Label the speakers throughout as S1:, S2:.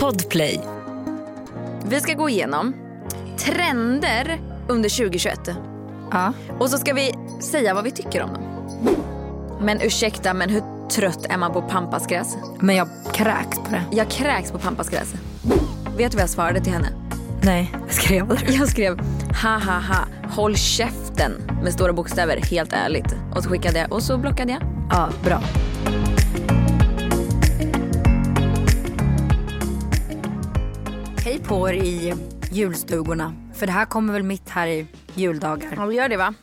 S1: Podplay.
S2: Vi ska gå igenom trender under 2021.
S3: Ja.
S2: Och så ska vi säga vad vi tycker om dem. Men ursäkta, men hur trött är man på pampasgräs?
S3: Men jag kräks på det.
S2: Jag kräks på pampasgräs. Vet du vad jag svarade till henne?
S3: Nej, jag skrev det.
S2: Jag skrev ha ha ha, håll käften med stora bokstäver, helt ärligt. Och så skickade jag och så blockade jag.
S3: Ja, bra. Hej på er i julstugorna. För det här kommer väl mitt här i juldagar.
S2: Ja, vi gör det va?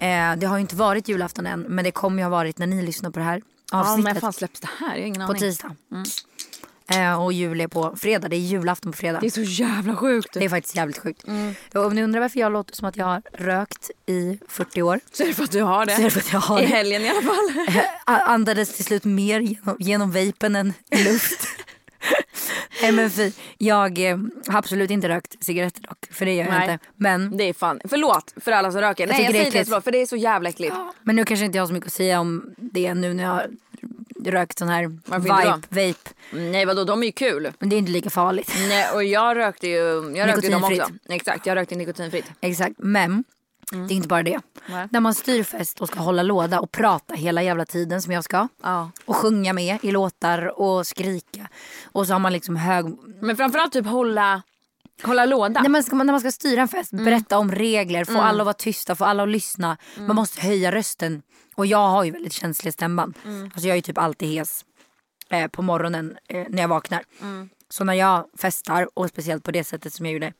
S3: Eh, det har ju inte varit julafton än, men det kommer ju ha varit när ni lyssnar på det här
S2: Ja, men
S3: avsnittet.
S2: fan Mm. släpps det här? Jag har ingen
S3: på
S2: aning.
S3: tisdag. Eh, och jul är på fredag. Det är julafton på fredag.
S2: Det är så jävla sjukt.
S3: Det är faktiskt jävligt sjukt.
S2: Mm.
S3: Och om ni undrar varför jag låter som att jag har rökt i 40 år.
S2: Så är det för att du har det.
S3: Så är det för att jag har
S2: I
S3: det.
S2: helgen i alla fall.
S3: A- andades till slut mer genom, genom vapen än luft. Nej men fy. Jag eh, har absolut inte rökt cigaretter dock. För det gör jag
S2: Nej.
S3: inte. Men,
S2: Det är fan, förlåt för alla som röker. Nej
S3: tycker
S2: jag
S3: det är
S2: säger det,
S3: äckligt.
S2: förlåt, för det är så jävla äckligt.
S3: men nu kanske inte jag har så mycket att säga om det nu när jag har rökt sån här
S2: Varför inte
S3: vibe, vape.
S2: Nej vadå, de är ju kul.
S3: Men det är inte lika farligt.
S2: Nej, och jag rökte ju jag rökte ju dem också.
S3: Nikotinfritt.
S2: Exakt, jag rökte nikotinfritt.
S3: Exakt. Men det är inte bara det.
S2: Mm. Nej.
S3: När man styr fest och ska hålla låda och prata hela jävla tiden som jag ska.
S2: Ja.
S3: Och sjunga med i låtar och skrika. Och så har man liksom hög
S2: Men framförallt typ hålla, hålla låda.
S3: När man, ska, när man ska styra en
S2: Mm.
S3: fest, berätta om regler, få alla att vara tysta, få alla att lyssna. Man
S2: Mm.
S3: måste höja rösten. Och jag har ju väldigt känslig stämman.
S2: Mm.
S3: Alltså jag är ju typ alltid hes eh, på morgonen eh, när jag vaknar.
S2: Mm.
S3: Så när jag festar, och speciellt på det sättet som jag gjorde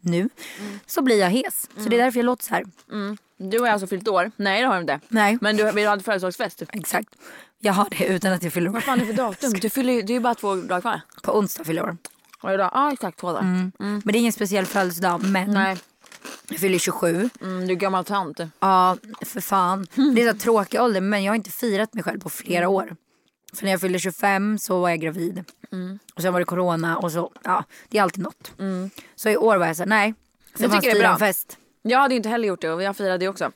S3: nu,
S2: Mm.
S3: så blir jag hes. Så det är därför jag låter så här.
S2: Du har ju alltså fyllt år. Nej det har du inte.
S3: Nej.
S2: Men du, vi hade födelsedagsfest. typ? Vad
S3: Exakt. Jag har det utan att jag fyller år.
S2: fan är det för datum? Du fyller, ju- det är ju bara två dagar kvar.
S3: På onsdag fyller jag år.
S2: Och idag, ja ah, exakt två dagar.
S3: Men det är ingen speciell födelsedag. Men
S2: Mm. Nej,
S3: jag fyller 27.
S2: mm, du är gammal tant. du.
S3: Ja, för fan. Det är så här tråkig ålder, men jag har inte firat mig själv på flera
S2: Mm.
S3: år. För när jag fyllde 25 så var jag gravid.
S2: Mm.
S3: Och sen var det corona och så, ja, det är alltid något. Så i år var jag så här, nej.
S2: Jag
S3: fan
S2: tycker det är
S3: styra
S2: bra.
S3: en Fest.
S2: Jag hade ju inte heller gjort det och jag firade ju också.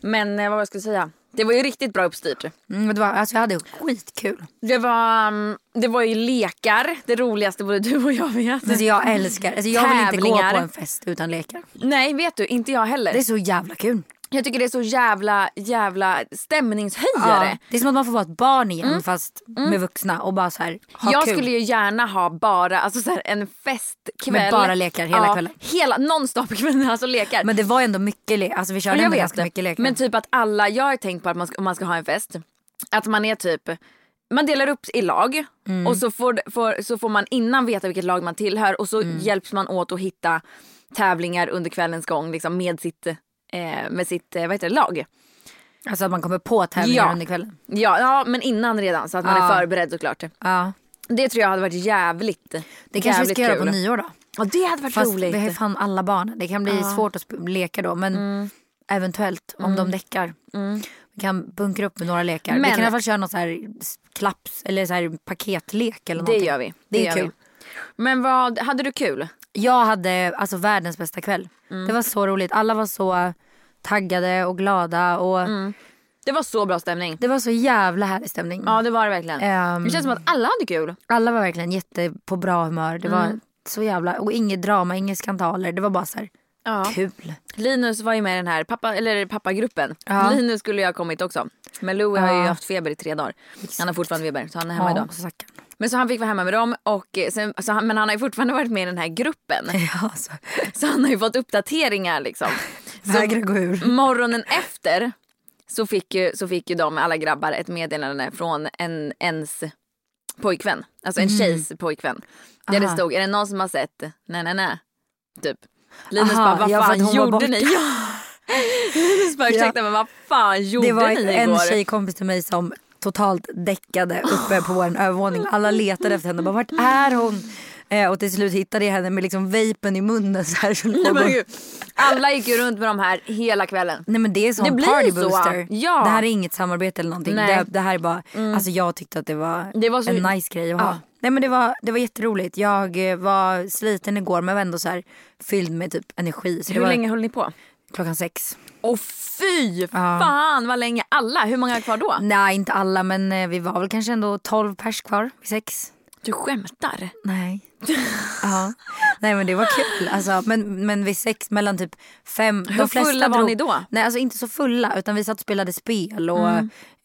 S2: Men eh, vad var jag skulle säga? Det var ju riktigt bra uppstyrt.
S3: Mm, men det var, alltså jag hade skitkul.
S2: Det var, mm, det var ju lekar, det roligaste både du och jag vet.
S3: Alltså jag älskar, alltså jag vill inte gå
S2: Tävlingar.
S3: på en fest utan lekar.
S2: Nej vet du, inte jag heller.
S3: Det är så jävla kul.
S2: Jag tycker det är så jävla, jävla stämningshöjare.
S3: Det är som att man får vara ett barn igen fast med vuxna och bara så här, ha
S2: Mm. jag
S3: kul.
S2: skulle ju gärna ha bara alltså så här, en festkväll.
S3: Med bara lekar hela
S2: ja,
S3: kvällen.
S2: Hela, nonstop kvällen, alltså lekar.
S3: Men det var ändå mycket lekar, alltså vi körde
S2: Och jag
S3: ändå
S2: vet
S3: ganska
S2: det.
S3: mycket lekar.
S2: Men typ att alla, jag har tänkt på att man ska, om man ska ha en fest, att man är typ man delar upp i lag
S3: Mm.
S2: och så får, får, så får man innan veta vilket lag man tillhör och så
S3: Mm.
S2: hjälps man åt att hitta tävlingar under kvällens gång liksom, med sitt, eh, med sitt eh, vad heter det, lag.
S3: Alltså att man kommer på tävlingar
S2: Ja.
S3: under kvällen.
S2: Ja, ja, men innan redan så att man
S3: Ja.
S2: är förberedd såklart.
S3: Ja.
S2: Det tror jag hade varit jävligt
S3: Det kanske vi
S2: jävligt
S3: ska göra på
S2: kul.
S3: nyår då.
S2: Ja, det hade varit
S3: Fast
S2: roligt.
S3: vi har ju fan alla barn. Det kan bli svårt att sp- leka då. Men
S2: Mm.
S3: eventuellt om de däckar. Vi kan bunkra upp med några lekar. vi
S2: Men-
S3: kan i alla fall köra någon så här s- klapps eller så här paketlek eller
S2: Det
S3: någonting.
S2: gör vi.
S3: Det,
S2: gör
S3: är kul.
S2: Vi. Men vad, hade du kul?
S3: Jag hade alltså världens bästa kväll.
S2: Mm.
S3: Det var så roligt. Alla var så taggade och glada och
S2: Mm. Det var så bra stämning.
S3: det var så jävla härlig stämning.
S2: Ja det var det verkligen.
S3: Ehm.
S2: Det känns som att alla hade kul.
S3: Alla var verkligen jätte på bra humör. Det
S2: Mm.
S3: var så jävla, och inget drama, inga skandaler. Det var bara så här
S2: Ja.
S3: kul.
S2: Linus var ju med i den här pappa, eller pappagruppen.
S3: Ja.
S2: Linus skulle ju ha kommit också. Men Louie har
S3: Ja.
S2: ju haft feber i tre dagar. Han har fortfarande feber så han är hemma
S3: Ja,
S2: idag.
S3: så stackaren.
S2: Men så han fick vara hemma med dem. Och eh, sen, så han, men han har ju fortfarande varit med i den här gruppen.
S3: Ja, så.
S2: Så han har ju fått uppdateringar liksom.
S3: Vägra gå ur.
S2: Morgonen efter så fick ju, så fick ju de alla grabbar ett meddelande från en, ens pojkvän. Alltså en tjejs pojkvän. Där det
S3: Mm. Aha.
S2: stod, är det någon som har sett nej nej nej? Typ. Linus
S3: Aha,
S2: bara,
S3: ja,
S2: vad
S3: för att
S2: fan
S3: hon var borta."
S2: gjorde ni? Ja. Linus bara, ursäkta men vad fan gjorde
S3: Det var
S2: ni
S3: en
S2: igår?
S3: tjejkompis till mig som totalt däckade uppe på vår övervåning. Alla letade efter henne. Bara, Vart är hon? Eh, och till slut hittade jag henne med liksom vapen i munnen. Så här, så
S2: Nej,
S3: låg
S2: men
S3: hon-
S2: gud. Alla gick ju runt med de här hela kvällen.
S3: Nej men det är
S2: Det
S3: sån
S2: blir
S3: party
S2: så.
S3: booster.
S2: Ja.
S3: Det här är inget samarbete eller någonting.
S2: Nej. Mm.
S3: Det, det här är bara, alltså jag tyckte att det var,
S2: Det var så-
S3: en nice grej att ha.
S2: Ja.
S3: Nej men det var, det var jätteroligt. Jag eh, var sliten igår men var ändå så här fylld med typ energi. Så det
S2: Hur
S3: var,
S2: länge höll ni på?
S3: klockan sex.
S2: Och fy fan vad länge. Alla, hur många är kvar då?
S3: Nej inte alla men eh, vi var väl kanske ändå 12 pers kvar vid sex.
S2: Du skämtar?
S3: Nej. ja. Nej men det var kul. Alltså, men, men vid sex mellan typ fem.
S2: Hur fulla var ni då? Mm.
S3: Nej alltså inte så fulla utan vi satt och spelade spel och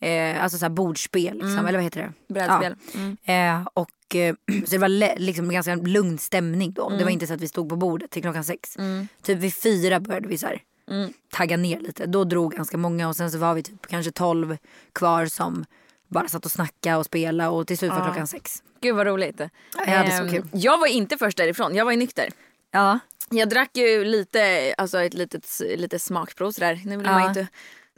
S3: eh, alltså så här bordspel liksom, eller vad heter det?
S2: Brädspel. Mm.
S3: Ja. Eh, och, eh, så det var le- liksom ganska lugn stämning då.
S2: Mm.
S3: Det var inte så att vi stod på bordet till klockan sex. Typ vid fyra började vi så här,
S2: Mm.
S3: tagga ner lite. Då drog ganska många och sen så var vi typ kanske tolv kvar som bara satt och snackade och spelade och till slut var klockan sex.
S2: Gud vad roligt.
S3: jag hade så
S2: Ehm,
S3: kul.
S2: Jag var inte först därifrån, jag var ju nykter.
S3: Ja.
S2: Jag drack ju lite, alltså ett litet, lite smakprov sådär. Nu vill
S3: Ja.
S2: man ju inte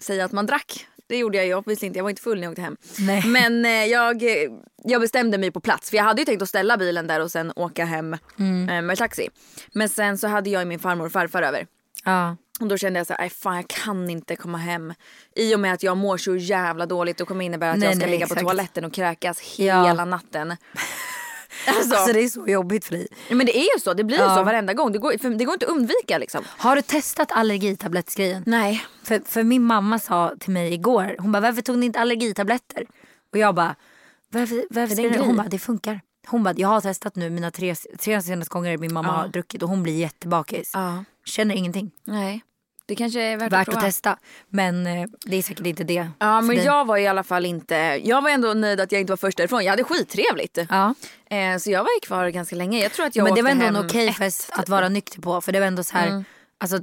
S2: säga att man drack. Det gjorde jag ju obviously inte, jag var inte full när jag åkte hem.
S3: Nej.
S2: Men eh, jag, eh, jag bestämde mig på plats för jag hade ju tänkt att ställa bilen där och sen åka hem
S3: Mm.
S2: eh, med taxi. Men sen så hade jag ju min farmor och farfar över.
S3: ja.
S2: Och då kände jag så här, "Aj, fan jag kan inte komma hem. I och med att jag mår så jävla dåligt och kommer innebära att
S3: Nej,
S2: jag ska
S3: nej,
S2: ligga
S3: exakt.
S2: på toaletten och kräkas
S3: Ja.
S2: hela natten. Alltså,
S3: Alltså det är så jobbigt för dig.
S2: Men det är ju så, det blir ju
S3: Ja.
S2: så varenda gång. Det går, för det går inte att undvika liksom.
S3: Har du testat allergitablettsgrejen?
S2: Nej.
S3: För, för min mamma sa till mig igår, hon bara varför tog ni inte allergitabletter? Och jag bara varför, varför
S2: Är det
S3: ska
S2: en
S3: ni-"
S2: grej?
S3: Hon bara det funkar. Hon bara jag har testat nu mina tre, tre senaste gånger min mamma
S2: Ja.
S3: har druckit och hon blir jättebakis.
S2: Ja.
S3: Känner ingenting.
S2: Nej. Det kanske är värt,
S3: Värt
S2: prova.
S3: att testa. Men eh, det är säkert inte det.
S2: Ja
S3: för
S2: men
S3: dig.
S2: jag var i alla fall inte, jag var ändå nöjd att jag inte var först därifrån. Jag hade skittrevligt.
S3: Ja.
S2: Eh, så jag var ju kvar ganska länge. Jag tror att jag
S3: men det
S2: åkte
S3: var ändå
S2: hem typ. Mm.
S3: en okej fest att vara nykter på. För det var ändå så här, alltså,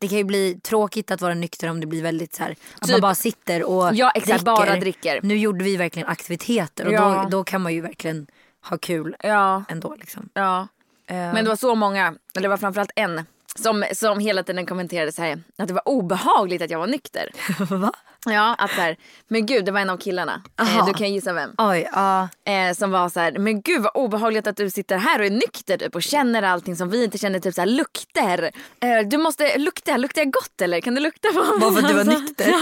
S3: det kan ju bli tråkigt att vara nykter om det blir väldigt så här, att man
S2: Typ-
S3: bara sitter och
S2: Ja, exakt, bara dricker.
S3: Nu gjorde vi verkligen aktiviteter och
S2: Ja.
S3: då, då kan man ju verkligen ha kul
S2: Ja.
S3: ändå. Liksom.
S2: ja. Men det var så många, eller det var framförallt en. Som, som hela tiden kommenterade så här, att det var obehagligt att jag var nykter.
S3: Va?
S2: Ja, att så här, men gud det var en av killarna. Eh,
S3: Aha.
S2: du kan gissa vem.
S3: Oj, ja.
S2: Eh, som var så här, men gud vad obehagligt att du sitter här och är nykter typ, och känner allting som vi inte känner, typ så här, lukter. Eh, du måste lukta, luktar jag gott eller? Kan du lukta på mig?
S3: Bara för att du var
S2: Alltså,
S3: nykter?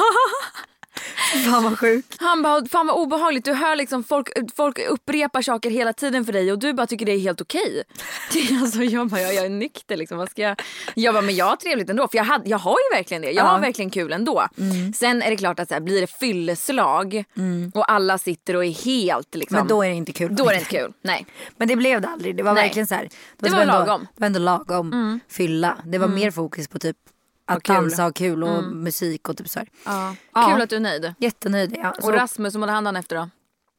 S3: Fan vad sjukt.
S2: Han bara, fan vad obehagligt, du hör liksom folk, folk upprepar saker hela tiden för dig och du bara tycker det är helt okej. alltså, jag bara, jag, jag är nykter liksom, vad ska jag? Jag bara, men jag har trevligt ändå för jag, hade, jag har ju verkligen det, jag har verkligen kul ändå. Sen är det klart att så här, blir det fylleslag och alla sitter och är helt liksom,
S3: Men då är det inte kul.
S2: Mm. då är det inte kul. Nej.
S3: Men det blev det aldrig. Det var
S2: Nej.
S3: verkligen så här,
S2: Det
S3: typ
S2: var
S3: ändå,
S2: lagom. Mm.
S3: Det var ändå lagom fylla. Det var mer fokus på typ att
S2: kul. Mm.
S3: dansa och kul och musik och typ så här.
S2: Ja.
S3: Ja.
S2: Kul att du är nöjd.
S3: Jättenöjd är jag.
S2: Och
S3: Så-
S2: Rasmus, hur mådde han dagen efter då?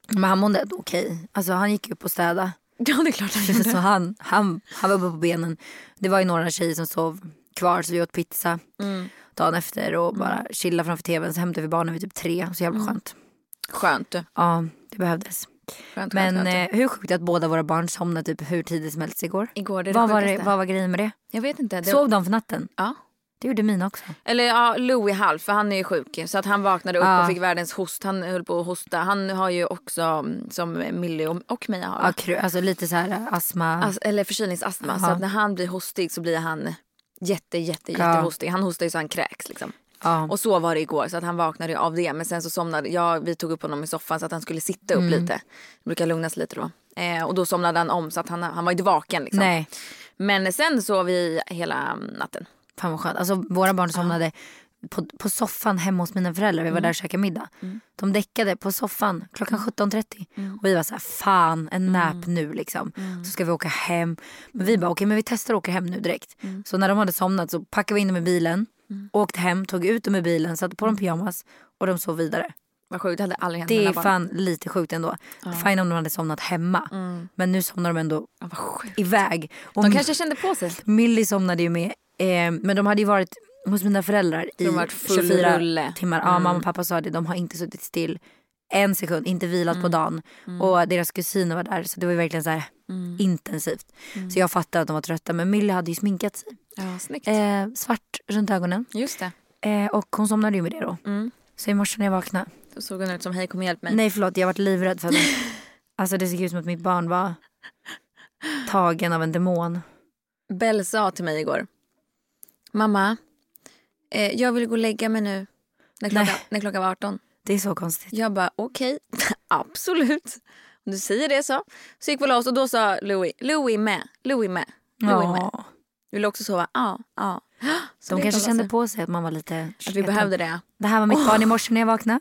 S3: Men han mådde ändå okej. Alltså han gick upp och städade.
S2: Ja det är klart han
S3: Så han, han, han var uppe på benen. Det var ju några tjejer som sov kvar så vi åt pizza
S2: Mm.
S3: dagen efter och bara chillade framför tvn. Så hämtade vi barnen vid typ tre. Så
S2: Mm.
S3: jävla skönt.
S2: Skönt.
S3: Ja, det behövdes.
S2: skönt
S3: Men
S2: skönt, skönt.
S3: eh, hur sjukt att båda våra barn somnade typ hur tidigt som helst igår.
S2: Igår det är
S3: vad,
S2: det
S3: var det,
S2: sjukaste.
S3: vad var grejen med det?
S2: Jag vet inte. Det...
S3: Sov de för natten?
S2: Ja.
S3: Det gjorde mina också.
S2: Eller ja, Lou är halv för han är ju sjuk. Så att han vaknade upp
S3: Ja.
S2: och fick världens host. Han höll på att hosta. Han har ju också mm, som Millie och, och Meja har.
S3: Ja, kru- alltså lite så här astma.
S2: As- eller förkylningsastma. Så
S3: Ja.
S2: att när han blir hostig så blir han jätte jätte
S3: Ja.
S2: jättehostig. Han hostar ju så han kräks liksom.
S3: ja.
S2: Och så var det igår så att han vaknade ju av det. Men sen så somnade jag, vi tog upp honom i soffan så att han skulle sitta upp
S3: Mm.
S2: lite. Det brukar lugnas lite då. Eh, och då somnade han om så att han, han var inte vaken liksom.
S3: Nej,
S2: Men sen sov vi hela natten.
S3: fan vad skönt. Alltså våra barn somnade på, på soffan hemma hos mina föräldrar. Vi var där och käkade middag. De däckade på soffan klockan 17.30. Och vi var så här, fan en nap nu liksom. Så ska vi åka hem. Men vi bara, okej men vi testar att åka hem nu direkt. Så när de hade somnat så packade vi in dem i bilen. Åkte hem, tog ut dem i bilen, satte på dem pyjamas. Och de sov vidare.
S2: Vad sjukt, det hade aldrig hänt
S3: Det
S2: mina
S3: är
S2: barn.
S3: fan lite sjukt ändå. Fine om de hade somnat hemma. Men nu somnar de ändå
S2: Ja, vad sjukt.
S3: iväg. Och
S2: De kanske kände på sig.
S3: Millie somnade ju med, eh, men de hade ju varit hos mina föräldrar i
S2: har varit full
S3: 24
S2: rulle. Mm.
S3: timmar. Ja, mamma och pappa sa det, de har inte suttit still en sekund, inte vilat
S2: Mm.
S3: på dagen. Och deras kusiner var där så det var ju verkligen så här
S2: Mm.
S3: intensivt. Så jag fattar att de var trötta men Millie hade ju sminkat sig.
S2: Ja, snyggt.
S3: Eh, svart runt ögonen
S2: Just det.
S3: eh, och hon somnade ju med det då.
S2: Mm.
S3: Så i morse när jag vaknade,
S2: Då såg hon ut som hej kom och hjälp mig.
S3: nej förlåt jag har varit livrädd för att alltså det såg ut som att mitt barn var tagen av en demon.
S2: Bell sa till mig igår. Mamma, eh, jag vill gå och lägga mig nu. När klockan,
S3: Nej.
S2: när klockan var 18.
S3: Det är så konstigt.
S2: Jag bara okej, absolut. Om du säger det så. Så gick vi och la oss och då sa Louis, Louis med, Louis med, Louis med.
S3: Ja.
S2: Vill du också sova? Ja, ja.
S3: De
S2: det
S3: kanske
S2: kollar
S3: kände
S2: sig.
S3: på sig att man var lite...
S2: Att vi behövde det.
S3: Det här var mitt barn i morse när jag vaknade.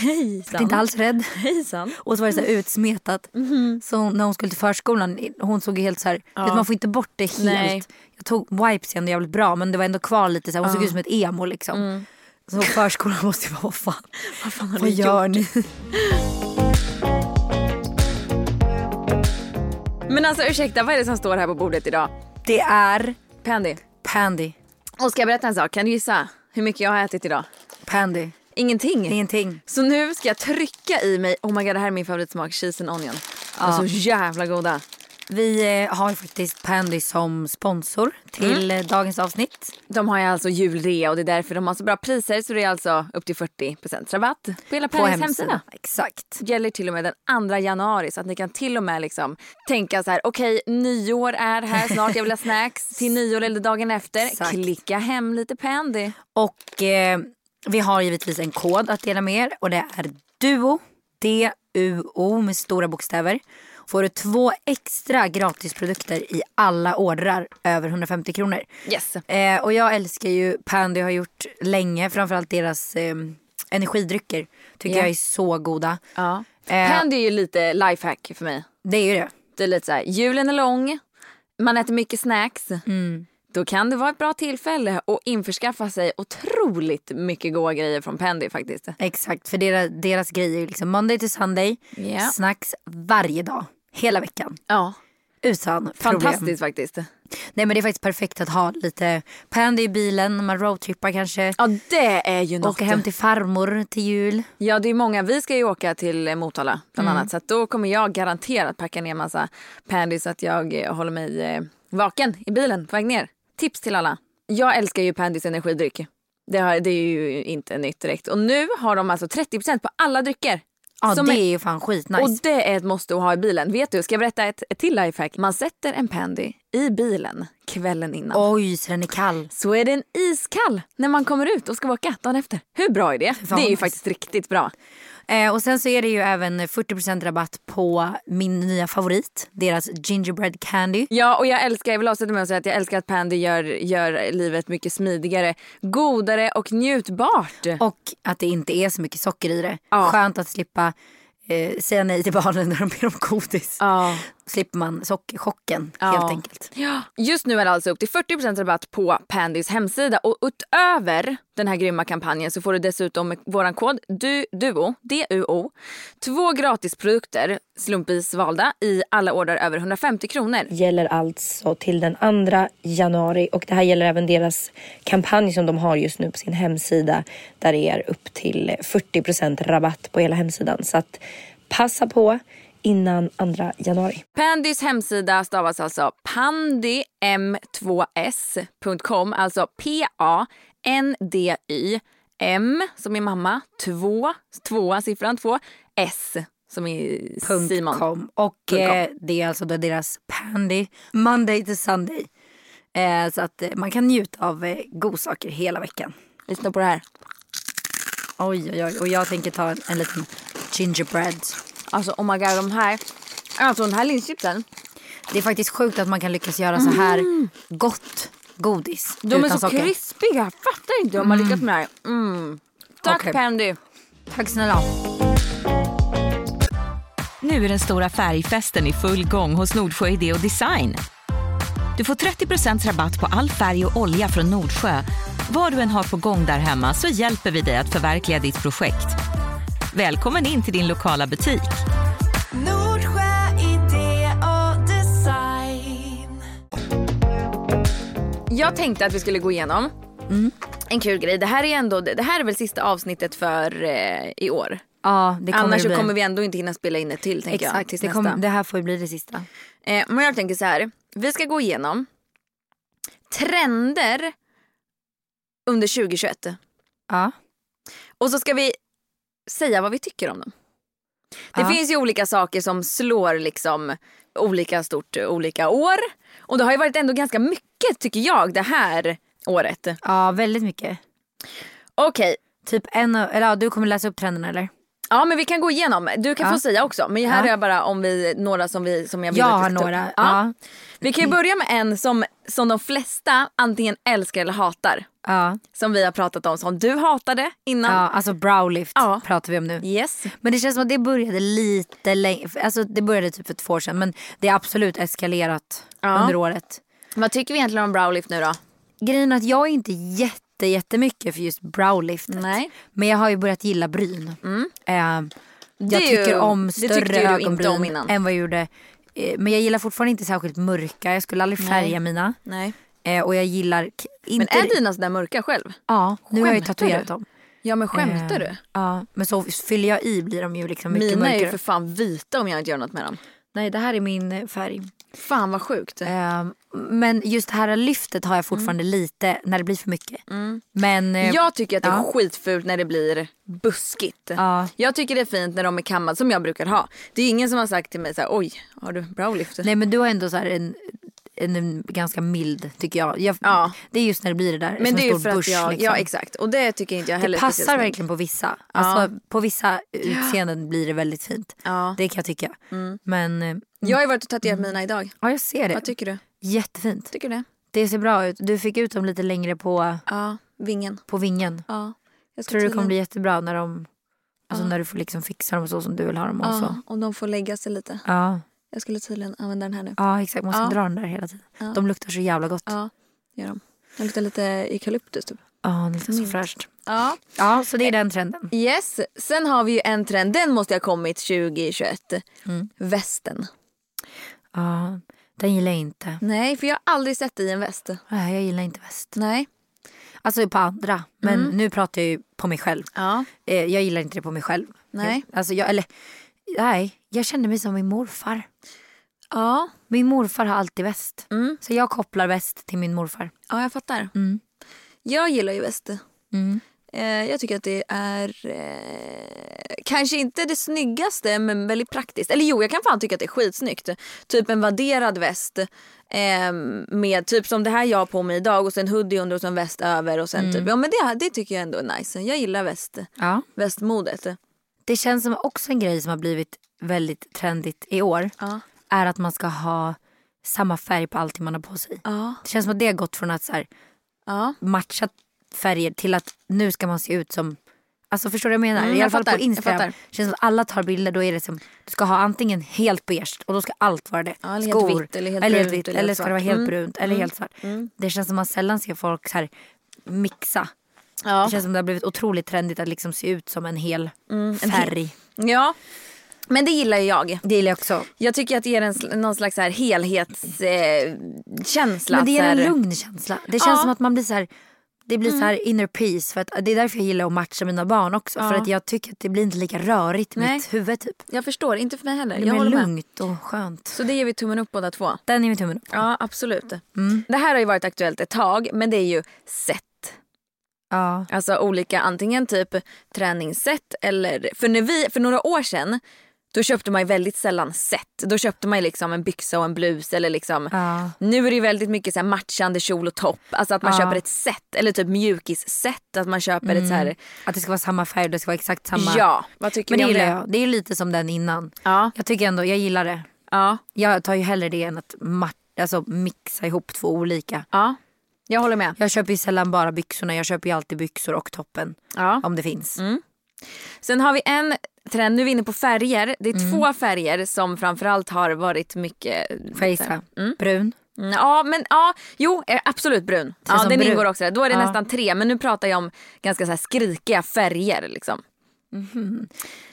S3: Jag
S2: Hejsan.
S3: är inte alls rädd.
S2: Hejsan.
S3: Och så var det så
S2: Mm-hmm.
S3: här utsmetat. Så hon, när hon skulle till förskolan, hon såg ju helt så här, vet, man får inte bort det helt.
S2: Nej.
S3: Jag tog wipes igen, det är jävligt bra men det var ändå kvar lite så här, hon såg ut som ett emo liksom.
S2: Mm.
S3: Så förskolan måste ju vara, vad fan, vad, fan vad gör ni?
S2: Men alltså ursäkta, vad är det som står här på bordet idag?
S3: Det är
S2: Pandy.
S3: Pandy.
S2: Och ska jag berätta en sak? Kan du gissa hur mycket jag har ätit idag?
S3: Pandy.
S2: Ingenting.
S3: Ingenting.
S2: Så nu ska jag trycka i mig, oh my god det här är min favoritsmak, cheese and onion. De är så jävla goda.
S3: Vi eh, har ju faktiskt Pandy som sponsor
S2: Mm.
S3: till eh, dagens avsnitt.
S2: De har ju alltså julrea och det är därför de har så bra priser så det är alltså upp till 40% rabatt på hela Pärlings hemsida.
S3: Exakt.
S2: gäller till och med den 2 januari så att ni kan till och med liksom tänka så här okej nyår är här snart jag vill ha snacks till nyår eller dagen efter
S3: Exakt.
S2: klicka hem lite Pandy.
S3: Och eh, vi har givetvis en kod att dela med er och det är DUO, D-U-O med stora bokstäver. Får du två extra gratisprodukter i alla ordrar över 150 kronor.
S2: Yes.
S3: Eh, och jag älskar ju Pandy har gjort länge, framförallt deras eh, energidrycker. Tycker
S2: Ja.
S3: jag är så goda.
S2: Ja.
S3: Eh,
S2: Pandy är ju lite lifehack för mig.
S3: Det är ju det.
S2: Det är lite så här, julen är lång, man äter mycket snacks. Då kan det vara ett bra tillfälle att införskaffa sig otroligt mycket goda grejer från Pandy faktiskt.
S3: Exakt, för deras, deras grejer är ju liksom Monday till Sunday.
S2: Ja.
S3: Snacks varje dag, hela veckan.
S2: Ja,
S3: Utan problem.
S2: fantastiskt faktiskt.
S3: Nej men det är faktiskt perfekt att ha lite Pandy i bilen när man roadtrippar kanske.
S2: Ja, det är ju något.
S3: Åka hem till farmor till jul.
S2: Ja, det är många. Vi ska ju åka till eh, Motala bland annat. Så att då kommer jag garanterat packa ner massa Pandy så att jag eh, håller mig eh, vaken i bilen på väg ner. Tips till alla. Jag älskar ju Pandys energidryck. Det, har, det är ju inte nytt direkt. Och nu har de alltså 30% på alla drycker.
S3: Ja
S2: Som
S3: det
S2: är-
S3: är ju fan skitnice.
S2: Och det är ett måste att ha i bilen. Vet du, ska jag berätta ett, ett till lifehack? Man sätter en Pandy i bilen kvällen innan.
S3: Oj så den är kall.
S2: Så är den iskall när man kommer ut och ska åka dagen efter. Hur bra är det? Det
S3: vad
S2: är ju
S3: nice.
S2: faktiskt riktigt bra.
S3: Eh, och sen så är det ju även 40% rabatt på min nya favorit. Deras gingerbread candy.
S2: Ja, och jag älskar, jag vill avsluta med att säga att jag älskar att Pandy gör, gör livet mycket smidigare, godare och njutbart.
S3: Och att det inte är så mycket socker i det.
S2: Ja.
S3: Skönt att slippa eh, säga nej till barnen när de ber om godis.
S2: Ja.
S3: Slipper man sockerchocken
S2: Ja.
S3: helt enkelt.
S2: Ja. Just nu är det alltså upp till 40 rabatt på Pandys hemsida och utöver den här grymma kampanjen så får du dessutom med våran kod du, DUO, DUO två gratisprodukter slumpvis valda i alla order över 150 kronor.
S1: gäller alltså till den 2 januari och det här gäller även deras kampanj som de har just nu på sin hemsida där det är upp till 40 rabatt på hela hemsidan. Så att passa på innan 2 januari.
S2: Pandys hemsida stavas alltså pandym2s.com, alltså P-A-N-D-Y M som är mamma, två, tvåa siffran två, S som är Simon.
S3: .com. Och eh, det är alltså då deras Pandy Monday to Sunday. Eh, så att eh, man kan njuta av eh, godsaker hela veckan.
S2: Lyssna på det här.
S3: Oj, oj, oj. Och jag tänker ta en, en liten gingerbread.
S2: Alltså oh my god de här, alltså den här linschipsen,
S3: Det är faktiskt sjukt att man kan lyckas göra så här gott godis
S2: Mm. de är
S3: utan
S2: så
S3: socker.
S2: krispiga, jag fattar inte hur de har lyckats med det här. Mm. Tack
S3: Okej.
S2: Pandy.
S3: Tack snälla.
S4: Nu är den stora färgfesten i full gång hos Nordsjö Idé och Design. Du får 30 rabatt på all färg och olja från Nordsjö. Vad du än har på gång där hemma så hjälper vi dig att förverkliga ditt projekt. Välkommen in till din lokala butik.
S5: Nordsjö idé och design.
S2: Jag tänkte att vi skulle gå igenom
S3: Mm.
S2: en kul grej. Det här är ändå, det här är väl sista avsnittet för eh, i år.
S3: Ja, det kommer
S2: Annars
S3: det
S2: så
S3: bli.
S2: kommer vi ändå inte hinna spela in ett till tänker jag.
S3: Exakt,
S2: Tills
S3: det,
S2: nästa.
S3: kommer, det här får ju bli det sista.
S2: Eh, men jag tänker så här. Vi ska gå igenom trender under 2021.
S3: Ja.
S2: Och så ska vi säga vad vi tycker om dem. Det
S3: Ja.
S2: finns ju olika saker som slår liksom olika stort eh, olika år. Och det har ju varit ändå ganska mycket tycker jag det här året.
S3: ja, väldigt mycket.
S2: Okej,
S3: Typ en, av- eller ja, du kommer läsa upp trenden eller?
S2: Ja men vi kan gå igenom. Du kan
S3: Ja.
S2: få säga också. Men här
S3: Ja.
S2: är jag bara om vi, några som, vi, som jag vill
S3: Jag
S2: att vi
S3: har
S2: ska ta upp.
S3: några,
S2: Ja.
S3: ja.
S2: Vi kan ju börja med en som, som de flesta antingen älskar eller hatar.
S3: Ja,
S2: Som vi har pratat om som du hatade
S3: ja
S2: innan.
S3: alltså browlift
S2: Ja.
S3: pratar vi om nu.
S2: Yes.
S3: Men det känns som att det började lite längre, alltså det började typ för två år sedan men det har absolut eskalerat
S2: Ja.
S3: under året.
S2: Vad tycker vi egentligen om browlift nu då?
S3: Grejen är att jag är inte jätte, jättemycket för just browliftet.
S2: Nej. Mm.
S3: Men jag har ju börjat gilla bryn. Eh,
S2: Det är
S3: jag
S2: ju-
S3: tycker
S2: det
S3: om
S2: tyckte ju
S3: större
S2: du inte
S3: ögonbryn
S2: om innan.
S3: än vad jag gjorde. Eh, Men jag gillar fortfarande inte särskilt mörka, jag skulle aldrig färga mina.
S2: Nej.
S3: Eh, och jag gillar... k- Inte
S2: Men är dina sådär mörka själv?
S3: Ja, nu har jag ju
S2: Skämtar
S3: tatuerat
S2: du?
S3: dem.
S2: Ja men skämtar
S3: Eh,
S2: du?
S3: Ja, men så fyller jag i blir de ju liksom mycket
S2: Mina är
S3: mörkare.
S2: ju för fan vita om jag inte gör något med dem.
S3: Nej, det här är min eh, färg.
S2: Fan vad sjukt.
S3: Eh, men just det här lyftet har jag fortfarande
S2: Mm.
S3: lite när det blir för mycket. Men eh,
S2: Jag tycker att det är
S3: ja.
S2: skitfult när det blir buskigt.
S3: Ja.
S2: Jag tycker det är fint när de är kammade som jag brukar ha. Det är ingen som har sagt till mig så här, oj har du browlift?
S3: Nej men du har ändå så här en, en, en ganska mild tycker jag. jag
S2: Ja.
S3: Det är just när det blir det där
S2: Men
S3: som
S2: det är
S3: en stor
S2: ju för att
S3: bush,
S2: jag,
S3: liksom.
S2: ja exakt och det tycker inte jag heller
S3: Det
S2: är speciellt
S3: passar
S2: snyggt.
S3: verkligen på vissa. Alltså, På vissa utseenden blir det väldigt fint.
S2: Ja. mm.
S3: Det kan jag tycka. Men eh,
S2: Jag har ju varit och tatuerat mina idag.
S3: ja, jag ser det.
S2: Vad tycker du?
S3: Jättefint.
S2: Tycker du det?
S3: Det ser bra ut. Du fick ut dem lite längre på,
S2: Ja, vingen.
S3: på vingen.
S2: Ja. Jag ska
S3: Tror du det
S2: tydligen-
S3: kommer bli jättebra när de alltså, när du får liksom fixa dem så som du vill ha dem och så.
S2: Ja, om de får lägga sig lite.
S3: Ja.
S2: Jag skulle tydligen använda den här nu.
S3: ja, exakt. Man ska
S2: Ja.
S3: dra den där hela tiden. De luktar så jävla gott. Ja,
S2: Ja, gör de. Den luktar lite eukalyptus typ.
S3: det luktar så fräscht.
S2: Ja.
S3: Ja, så det
S2: Eh.
S3: är den trenden.
S2: Yes, sen har vi ju en trend. Den måste ha kommit 2021.
S3: Mm.
S2: Västen.
S3: Ja, den gillar jag inte.
S2: Nej, för jag har aldrig sett dig i en väst.
S3: Nej, jag gillar inte väst.
S2: Nej.
S3: Alltså på andra. Men
S2: Mm.
S3: nu pratar jag ju på mig själv.
S2: Ja.
S3: Eh, jag gillar inte det på mig själv.
S2: Nej.
S3: Jag, alltså jag, eller, nej, jag kände mig som min morfar.
S2: Ja,
S3: Min morfar har alltid väst.
S2: Mm.
S3: Så jag kopplar väst till min morfar.
S2: ja jag fattar.
S3: Mm.
S2: Jag gillar ju väst.
S3: Mm.
S2: Eh, jag tycker att det är eh, kanske inte det snyggaste men väldigt praktiskt. Eller jo, jag kan fan tycka att det är skitsnyggt. Typ en vadderad väst eh, med typ som det här jag har på mig idag och sen hoodie under och sen väst över och sen
S3: Mm.
S2: typ. Ja men det, det tycker jag ändå är nice. Jag gillar väst,
S3: Ja.
S2: västmodet.
S3: Det känns som också en grej som har blivit väldigt trendigt i år.
S2: Ja.
S3: Är att man ska ha samma färg på allting man har på sig.
S2: Ja,
S3: Det känns som att det har gått från att så här,
S2: ja.
S3: matcha färger till att nu ska man se ut som Alltså förstår du vad jag menar?
S2: Mm,
S3: I
S2: jag
S3: alla fall
S2: fattar,
S3: på
S2: jag
S3: Instagram.
S2: fattar.
S3: Känns som att alla tar bilder då är det som du ska ha antingen helt beige och då ska allt vara det.
S2: Ja, eller helt
S3: Skor
S2: vitt, eller helt brunt,
S3: vitt
S2: eller
S3: eller,
S2: helt
S3: ska det vara
S2: svart.
S3: helt
S2: Mm.
S3: brunt eller helt svart. Det känns som att man sällan ser folk så här mixa.
S2: ja.
S3: Det
S2: Ah.
S3: känns som det har blivit otroligt trendigt att liksom se ut som en hel
S2: Mm,
S3: färg.
S2: ja. Men det gillar ju jag.
S3: Det gillar jag också.
S2: Jag tycker att det ger en, sl- någon slags så här eh, helhetskänsla.
S3: Men det är
S2: så här-
S3: en lugn känsla. Det känns
S2: Ja. Mm.
S3: som att man blir så här, det blir så här inner peace. För att, det är därför jag gillar att matcha mina barn också. För att jag tycker att det blir inte lika rörigt i
S2: Nej.
S3: mitt huvud typ.
S2: Jag förstår, inte för mig heller.
S3: Det
S2: Jag
S3: blir
S2: håller med.
S3: lugnt och skönt.
S2: Så det ger vi tummen upp båda två. Mm.
S3: Den är min tummen upp.
S2: Ja, absolut. Det här har ju varit aktuellt ett tag, men det är ju sätt.
S3: Ja.
S2: Alltså olika, antingen typ träningssätt eller... För, när vi, för några år sedan, då köpte man ju väldigt sällan set. Då köpte man ju liksom en byxa och en blus eller liksom...
S3: Ja.
S2: Nu är det ju väldigt mycket så här matchande kjol och topp. Alltså att man
S3: Ja.
S2: köper ett set, eller typ mjukisset. Att man köper ett så här...
S3: Att det ska vara samma färg, det ska vara exakt samma.
S2: Ja, Mm. vad tycker
S3: Men
S2: ni
S3: det
S2: om
S3: gillar
S2: det?
S3: jag. Det är lite som den innan.
S2: Ja,
S3: Jag tycker ändå, jag gillar det.
S2: ja,
S3: Jag tar ju hellre det än att matcha, alltså mixa ihop två olika.
S2: ja. Jag håller med.
S3: Jag köper ju sällan bara byxorna, jag köper ju alltid byxor och toppen.
S2: Ja.
S3: Om det finns.
S2: Mm. Sen har vi en trend, nu är vi inne på färger. Det är två färger som framförallt har varit mycket...
S3: Får jag gissa? Brun.
S2: Mm, Ja, men ja, jo, eh, absolut brun. Ja,
S3: som
S2: den
S3: brun.
S2: ingår också. där. Då är det
S3: Ja.
S2: nästan tre, men nu pratar jag om ganska så här skrikiga färger. Liksom,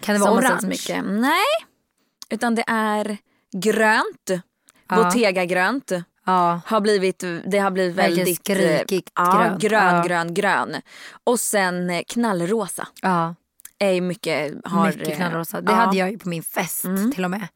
S3: Kan det
S2: som
S3: vara
S2: har
S3: orange?
S2: setts mycket. Nej, utan det är grönt. Bottega-grönt.
S3: Ja.
S2: Har blivit, det har blivit
S3: Verkligen
S2: väldigt... eh,
S3: skrikigt
S2: ja,
S3: grönt.
S2: grön,
S3: Ja.
S2: grön, grön. Och sen eh, knallrosa.
S3: ja.
S2: Är ju mycket... Har, eh,
S3: Mycket knallrosa. Det
S2: ja. Mm.
S3: hade jag ju på min fest till och med.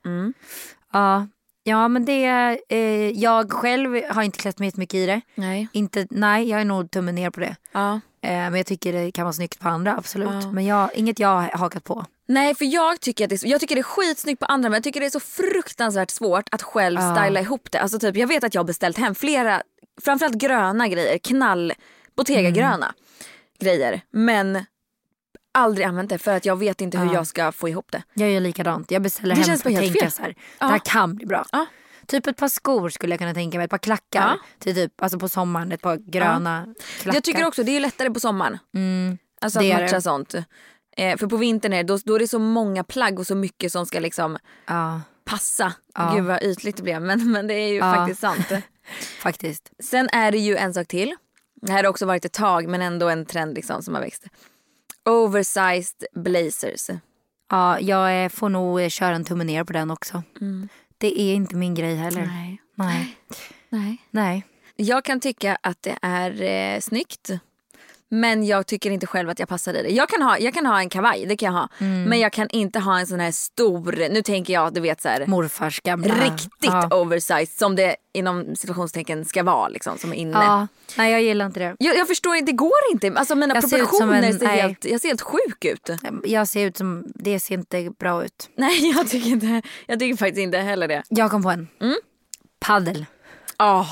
S3: Ja. ja men det, eh, jag själv har inte klätt mig mycket i det.
S2: Nej.
S3: Inte, nej jag är nog tummen ner på det.
S2: Ja.
S3: Eh, men jag tycker det kan vara snyggt på andra absolut. Men jag, inget jag har hakat på.
S2: Nej för jag tycker, att det, är- jag tycker det är skitsnyggt på andra men jag tycker det är så fruktansvärt svårt att själv styla ihop det. Alltså typ, jag vet att jag har beställt hem flera, framförallt
S3: Mm.
S2: gröna grejer, knall, Bottega-gröna grejer. Men aldrig använt det för att jag vet inte hur jag ska få ihop det.
S3: Jag gör likadant. Jag beställer
S2: Det
S3: hem
S2: känns
S3: för
S2: bara
S3: att
S2: helt
S3: tänka
S2: fel.
S3: så här. Det här kan bli bra.
S2: Ja.
S3: Typ ett par skor skulle jag kunna tänka mig. Ett par klackar.
S2: Ja.
S3: Till typ, alltså på sommaren ett par gröna klackar. Mm.
S2: Jag tycker också det är lättare på sommaren. Alltså
S3: det
S2: att
S3: är
S2: matcha
S3: det.
S2: sånt. Eh, för på vintern är det, då, då är det så många plagg och så mycket som ska liksom
S3: Ja,
S2: passa. Gud vad ytligt det blev men, men det är ju
S3: Ja.
S2: faktiskt sant.
S3: faktiskt.
S2: Sen är det ju en sak till. Det här har också varit ett tag men ändå en trend liksom som har växt. Oversized blazers.
S3: Ja, jag eh, får nog eh, köra en tumme ner på den också. Det är inte min grej heller.
S2: Mm. Nej.
S3: Nej.
S2: Nej.
S3: Nej.
S2: Jag kan tycka att det är eh, snyggt. Men jag tycker inte själv att jag passar i det. Jag kan ha, jag kan ha en kavaj, det kan jag ha.
S3: Mm.
S2: Men jag kan inte ha en sån här stor, nu tänker jag du vet så här
S3: Morfars gamla.
S2: riktigt
S3: Ah, Ja.
S2: oversized som det inom situationstecken ska vara liksom som är inne.
S3: ja. Nej, jag gillar inte det.
S2: Jag, jag förstår inte, det går inte. Alltså mina
S3: Jag ser ut som
S2: proportioner ser,
S3: en- nej.
S2: helt, jag ser helt sjuk ut.
S3: Jag ser ut som, det ser inte bra ut.
S2: Nej jag tycker inte, jag tycker faktiskt inte heller det.
S3: Jag kom på en. Mm. Paddel.
S2: Åh,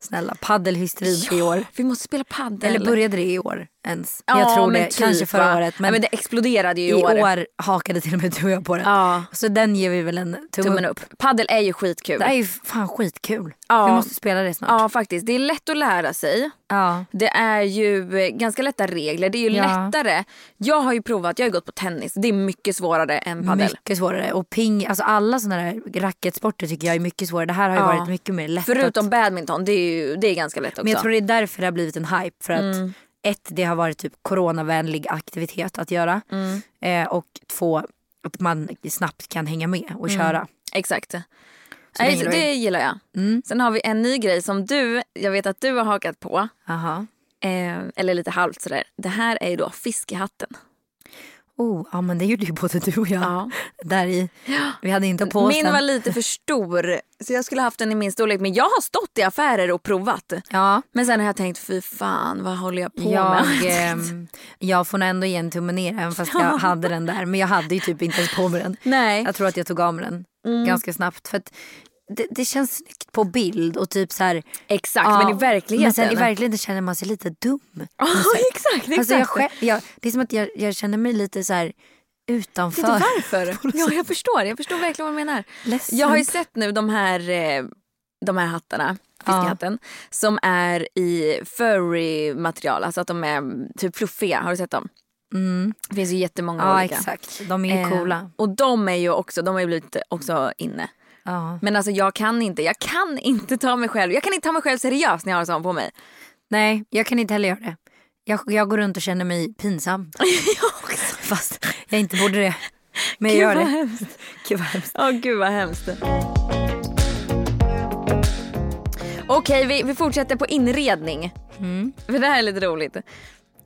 S3: Snälla, paddelhysterin i år.
S2: vi måste spela padel.
S3: Eller började det i år ens?
S2: Ja,
S3: jag tror
S2: men
S3: det.
S2: typ,
S3: Kanske förra
S2: va?
S3: året.
S2: ja,
S3: Men,
S2: men det exploderade ju
S3: i
S2: i år.
S3: år. hakade till och med du och jag på det.
S2: Ja.
S3: Så den ger vi väl en tumme,
S2: Tummen
S3: upp.
S2: upp. Paddel är ju skitkul.
S3: Det är ju fan skitkul.
S2: Ja.
S3: Vi måste spela det snart.
S2: Ja faktiskt, det är lätt att lära sig.
S3: Ja.
S2: Det är ju eh, ganska lätta regler, det är ju
S3: Ja.
S2: lättare. Jag har ju provat, jag har ju gått på tennis, det är mycket svårare än padel.
S3: Mycket svårare. Och ping, alltså alla sådana där racketsporter tycker jag är mycket svårare. Det här har ju
S2: Ja.
S3: varit mycket mer lätt.
S2: Förutom
S3: att,
S2: badminton, det är ju det är ganska lätt också. Mm.
S3: men jag tror det är därför det har blivit en hype. För att ett, det har varit typ coronavänlig aktivitet att göra.
S2: Mm.
S3: Eh, och två, att man snabbt kan hänga med och
S2: Mm.
S3: köra.
S2: Exakt. Nej,
S3: det
S2: så
S3: gillar
S2: det
S3: vi.
S2: gillar jag. Sen har vi en ny grej som du, jag vet att du har hakat på.
S3: Aha.
S2: Eh, eller lite halvt sådär. Det här är ju då fiskehatten.
S3: Oh, ja men det gjorde ju både du och jag.
S2: Ja.
S3: Där i. Vi hade inte på oss
S2: Min
S3: den.
S2: var lite för stor så jag skulle haft den i min storlek. Men jag har stått i affärer och provat.
S3: Ja.
S2: Men sen har jag tänkt fy fan vad håller jag på
S3: Jag,
S2: med?
S3: ehm, jag får nog ändå ge en tumme ner även fast jag hade den där. Men jag hade ju typ inte ens på mig den.
S2: Nej. Mm.
S3: Jag tror att jag tog av mig den ganska snabbt. För att det, det känns snyggt på bild och typ så här.
S2: Exakt
S3: ja,
S2: men i verkligheten.
S3: Men sen i verkligheten känner man sig lite dum.
S2: Ja, exakt, exakt.
S3: Alltså jag, själv- jag, det är som att jag, jag känner mig lite så här
S2: Jag vet
S3: utanför.
S2: inte varför. Ja, jag förstår. Jag förstår verkligen vad du menar.
S3: Ledsen.
S2: Jag har ju sett nu de här, eh, de här hattarna, fiskehatten, som är i furry material. Alltså att de är mm, typ fluffiga. Har du sett dem? Det finns ju jättemånga
S3: Mm. Ja
S2: olika.
S3: exakt, de är ju
S2: Eh,
S3: coola.
S2: Och de är ju också, de har ju blivit också inne.
S3: Ja.
S2: Men alltså jag kan inte, jag kan inte ta mig själv, jag kan inte ta mig själv seriöst när jag har sånt på mig.
S3: Nej, jag kan inte heller göra det. Jag, jag går runt och känner mig pinsam. Fast jag inte borde det. Men jag
S2: Gud,
S3: gör
S2: vad
S3: det.
S2: hemskt.
S3: Gud vad hemskt.
S2: Åh gud vad hemskt. Okej, vi, vi fortsätter på inredning.
S3: Mm.
S2: För det här är lite roligt.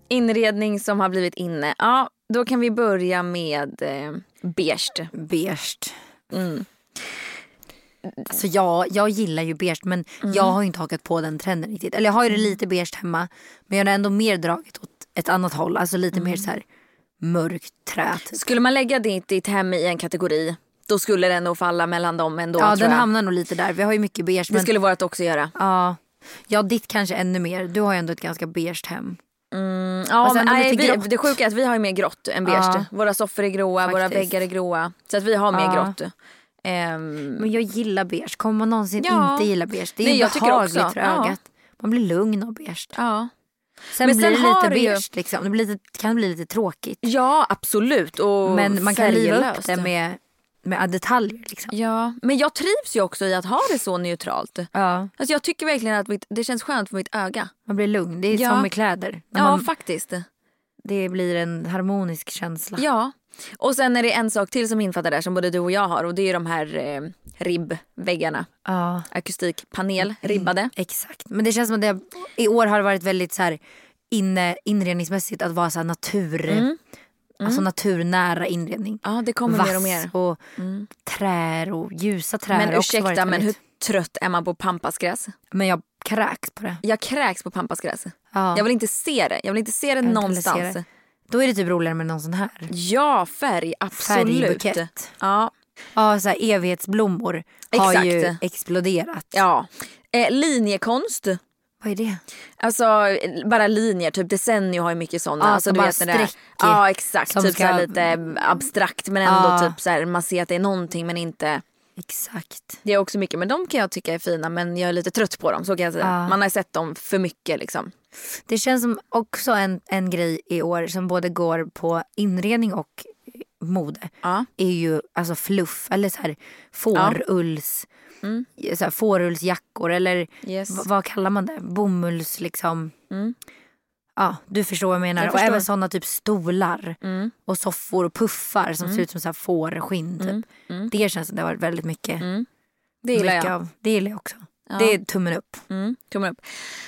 S2: Inredning som har blivit inne. Ja, då kan vi börja med eh, beige.
S3: Beige.
S2: Mm.
S3: Alltså jag, jag gillar ju beige men
S2: Mm.
S3: jag har ju inte hakat på den trenden riktigt. Eller jag har ju det lite beige hemma men jag har ändå mer dragit åt ett annat håll. Alltså lite
S2: Mm.
S3: mer så här mörkt trä. typ.
S2: Skulle man lägga ditt, ditt hem i en kategori, då skulle den nog falla mellan dem ändå
S3: Ja
S2: tror
S3: den
S2: jag.
S3: hamnar nog lite där. Vi har ju mycket beige.
S2: Det
S3: Men,
S2: skulle vårt också göra.
S3: ja, ja ditt kanske ännu mer. Du har ju ändå ett ganska beige hem.
S2: Ja,
S3: Och sen
S2: men,
S3: ändå
S2: nej,
S3: lite
S2: vi,
S3: grått.
S2: det sjuka är att vi har ju mer grått än beige.
S3: Ja.
S2: Våra soffor är gråa, våra
S3: Faktiskt.
S2: väggar är gråa. Så att vi har mer
S3: Ja.
S2: grått. Ehm,
S3: Men jag gillar beige. Kommer man någonsin
S2: Ja.
S3: inte gilla beige? Det är
S2: Nej,
S3: ju
S2: jag tycker
S3: behagligt
S2: också.
S3: för
S2: Ja.
S3: ögat. Man blir lugn av beige.
S2: ja.
S3: Sen
S2: Men
S3: blir
S2: sen
S3: det lite
S2: har det ju-
S3: beige. Liksom. Det blir lite, kan bli lite tråkigt.
S2: Ja, absolut. Och
S3: Men man kan liva upp
S2: färglöst.
S3: det med, med detaljer. Liksom.
S2: Ja, men jag trivs ju också i att ha det så neutralt.
S3: Ja.
S2: Alltså jag tycker verkligen att mitt, det känns skönt för mitt öga.
S3: Man blir lugn. Det är
S2: Ja.
S3: som med kläder. När
S2: Ja,
S3: man,
S2: faktiskt.
S3: det blir en harmonisk känsla.
S2: Ja. Och sen är det en sak till som infattar där som både du och jag har och det är ju de här eh, ribbväggarna.
S3: Ja, Mm.
S2: Akustikpanel, ribbade.
S3: Exakt. Men det känns som att det, i år har det varit väldigt så här, inne, inredningsmässigt att vara så här natur, Alltså naturnära inredning.
S2: Mm. Ja, det kommer mer och mer. Mm.
S3: och trär och ljusa trär.
S2: Men
S3: har också varit
S2: ursäkta, men hur
S3: väldigt-
S2: trött är man på pampasgräs?
S3: men jag kräks på det.
S2: Jag kräks på pampasgräs.
S3: Ja.
S2: Jag vill inte se det. Jag vill inte se det
S3: Jag vill inte
S2: någonstans.
S3: heller se det. Då är det typ roligare med någon sån här.
S2: Ja, färg. Absolut.
S3: Färgbukett.
S2: Ja,
S3: Ja, så här evighetsblommor har
S2: Exakt.
S3: ju exploderat.
S2: Ja. Eh, linjekonst.
S3: Vad är det?
S2: Alltså bara linjer, typ Desenio har ju mycket sådana.
S3: Ja,
S2: alltså,
S3: som bara
S2: det där-
S3: streck. typ,
S2: Ja exakt,
S3: Som
S2: typ
S3: ska-
S2: så här lite abstrakt men ändå
S3: Ja.
S2: typ så här, man ser att det är någonting men inte.
S3: Exakt.
S2: Det är också mycket men de kan jag tycka är fina men jag är lite trött på dem så kan jag säga.
S3: Ja.
S2: Man har sett dem för mycket liksom.
S3: Det känns som också en, en grej i år som både går på inredning och mode.
S2: Ja.
S3: är ju alltså fluff eller så här fårulls, så här, fårullsjackor eller
S2: Mm. Yes.
S3: v- vad kallar man det? Bomulls liksom.
S2: Mm.
S3: Ja, du förstår vad jag menar.
S2: Jag
S3: och
S2: förstår.
S3: även sådana typ stolar
S2: Mm.
S3: och soffor och puffar som ser ut som så här fårskinn typ.
S2: Mm. Mm.
S3: Det känns som det har varit väldigt mycket.
S2: Mm. Det gillar
S3: mycket
S2: jag.
S3: Av. Det gillar jag också.
S2: Ja.
S3: Det är tummen upp.
S2: Mm, tummen upp.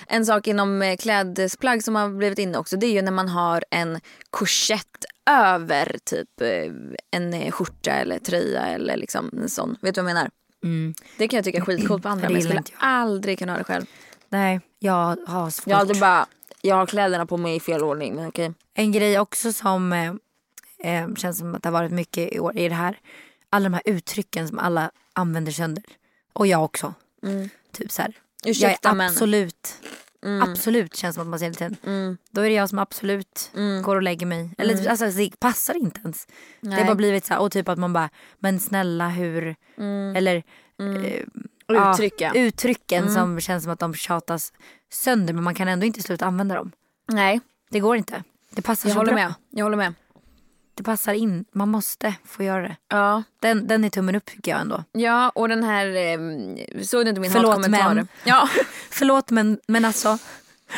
S2: En sak inom eh, klädesplagg som har blivit inne också det är ju när man har en korsett över typ eh, en eh, skjorta eller tröja eller liksom en sån. Vet du vad jag menar?
S3: Mm.
S2: Det kan jag tycka är skitcoolt på andra
S3: Det
S2: men jag
S3: gillar
S2: skulle
S3: inte
S2: aldrig kunna ha det själv.
S3: Nej, jag har svårt.
S2: Jag har alltid bara, jag har kläderna på mig i fel ordning men okej.
S3: En grej också som eh, eh, känns som att det har varit mycket i år är det här. Alla de här uttrycken som alla använder sönder. Och jag också. Typ så här. jag
S2: Mm. Ursäkta
S3: är
S2: men.
S3: absolut, absolut känns som att man säger lite.
S2: Mm.
S3: Då är det jag som absolut går och lägger mig. Eller typ, alltså, det passar inte ens. Det har
S2: Nej.
S3: bara blivit så här, och typ att man bara, men snälla hur,
S2: Mm.
S3: eller eh, ja,
S2: Uttrycka.
S3: uttrycken
S2: Mm.
S3: som känns som att de tjatas sönder men man kan ändå inte sluta använda dem.
S2: Nej,
S3: Det går inte. Det passar
S2: jag
S3: så
S2: håller
S3: bra
S2: med. Jag håller med.
S3: det passar in. Man måste få göra det.
S2: Ja,
S3: Den, den är tummen upp tycker jag ändå.
S2: ja och den här, eh, såg du inte min
S3: Förlåt,
S2: hatkommentar?
S3: men.
S2: Ja,
S3: Förlåt men, men alltså.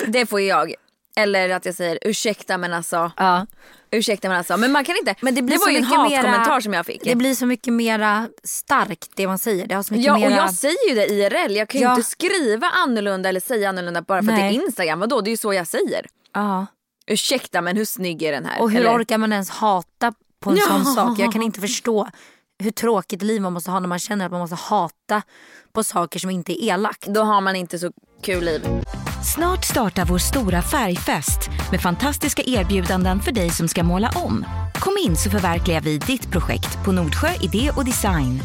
S2: det får ju jag. Eller att jag säger ursäkta men alltså.
S3: Ja.
S2: Ursäkta men alltså. Men man kan inte. Men det,
S3: blir
S2: var
S3: så
S2: ju en
S3: mycket mera-
S2: hatkommentar som jag fick.
S3: Det blir så mycket mera starkt det man säger. Det har så mycket
S2: Ja
S3: mera...
S2: och jag säger ju det IRL. Jag kan ju
S3: Ja.
S2: inte skriva annorlunda eller säga annorlunda bara för att
S3: Nej.
S2: det är Instagram. Vadå det är ju så jag säger.
S3: ja.
S2: Ursäkta men hur snygg är den här?
S3: Och hur
S2: Eller-
S3: orkar man ens hata på en
S2: Ja.
S3: sån sak? Jag kan inte förstå hur tråkigt liv man måste ha när man känner att man måste hata på saker som inte är elakt.
S2: Då har man inte så kul liv.
S4: Snart startar vår stora färgfest med fantastiska erbjudanden för dig som ska måla om. Kom in så förverkligar vi ditt projekt på Nordsjö Idé och Design.